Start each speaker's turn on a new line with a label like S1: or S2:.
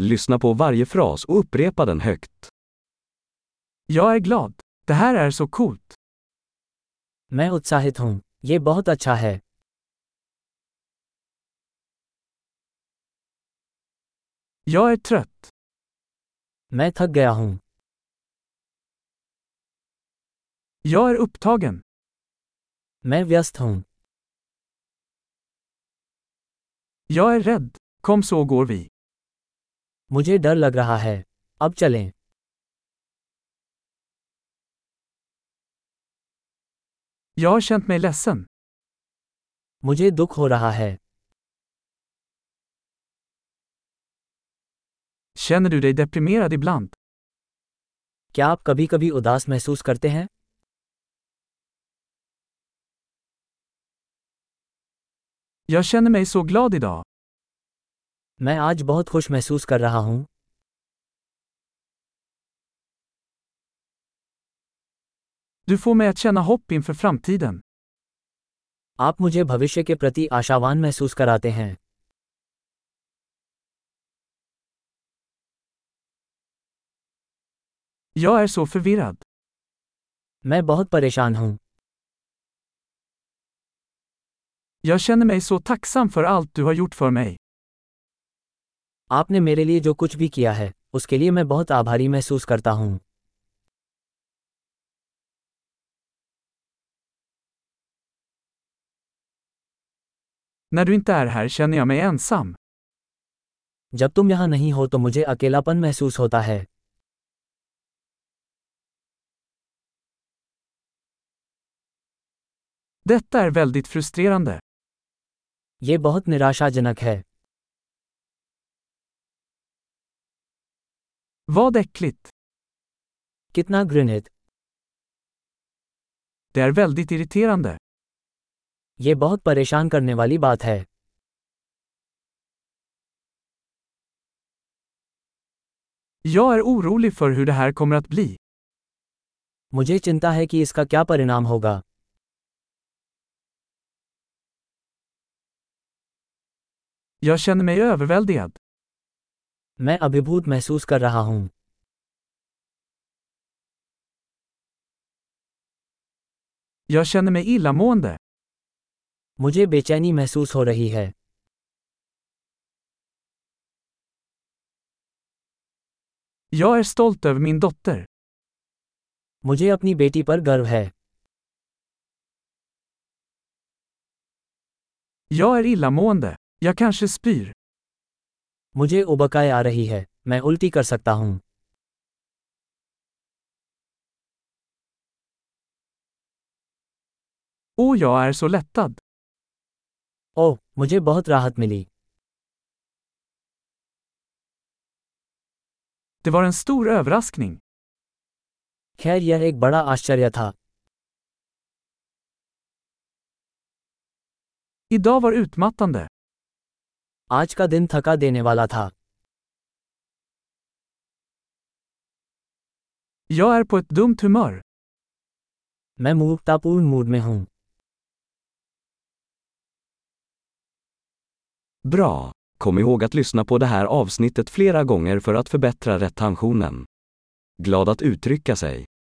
S1: Lyssna på varje fras och upprepa den högt.
S2: Jag är glad. Det här är så coolt.
S3: मैं उत्साहित हूँ ये बहुत अच्छा है
S2: Jag är trött.
S3: मैं थक गया हूँ
S2: Jag är upptagen.
S3: मैं व्यस्त हूँ
S2: Jag är rädd. Kom så går vi.
S3: मुझे डर लग रहा है अब चलें
S2: Jag har känt mig ledsen.
S3: मुझे दुख हो रहा है
S2: Känner du dig deprimerad ibland?
S3: क्या आप कभी कभी उदास महसूस करते हैं
S2: Jag känner mig så glad idag.
S3: मैं आज बहुत खुश महसूस कर रहा हूँ
S2: Du får mig att känna hopp inför framtiden.
S3: आप मुझे भविष्य के प्रति आशावान महसूस कराते हैं
S2: Jag är så förvirrad.
S3: मैं बहुत परेशान हूँ
S2: Jag känner mig så tacksam för allt du har gjort för mig.
S3: आपने मेरे लिए जो कुछ भी किया है उसके लिए मैं बहुत आभारी महसूस करता हूँ
S2: När du inte är här känner jag mig ensam.
S3: जब तुम यहाँ नहीं हो तो मुझे अकेलापन महसूस होता है
S2: Detta är väldigt frustrerande.
S3: ये बहुत निराशाजनक है
S2: Vad äckligt.
S3: कितना घृणित
S2: Det är väldigt irriterande.
S3: ये बहुत परेशान करने वाली बात है
S2: Jag är orolig för hur det här kommer att bli.
S3: मुझे चिंता है कि इसका क्या परिणाम होगा
S2: Jag känner mig överväldigad.
S3: मैं अभिभूत महसूस कर रहा हूँ
S2: Jag känner mig illamående.
S3: मुझे बेचैनी महसूस हो रही है
S2: Jag är stolt över min dotter.
S3: मुझे अपनी बेटी पर गर्व है
S2: Jag är illamående. Jag kanske spyr.
S3: मुझे उबकाई आ रही है मैं उल्टी कर सकता हूँ
S2: Och jag är så lättad.
S3: ओह मुझे बहुत राहत मिली
S2: Det var en stor överraskning.
S3: खैर यह एक बड़ा आश्चर्य था
S2: Idag var utmattande.
S3: आज का दिन थका देने वाला था
S2: Jag är på ett dumt humör.
S3: मैं मूर्खतापूर्ण मूड में हूँ
S1: Bra! Kom ihåg att lyssna på det här avsnittet flera gånger för att förbättra retentionen. Glad att uttrycka sig!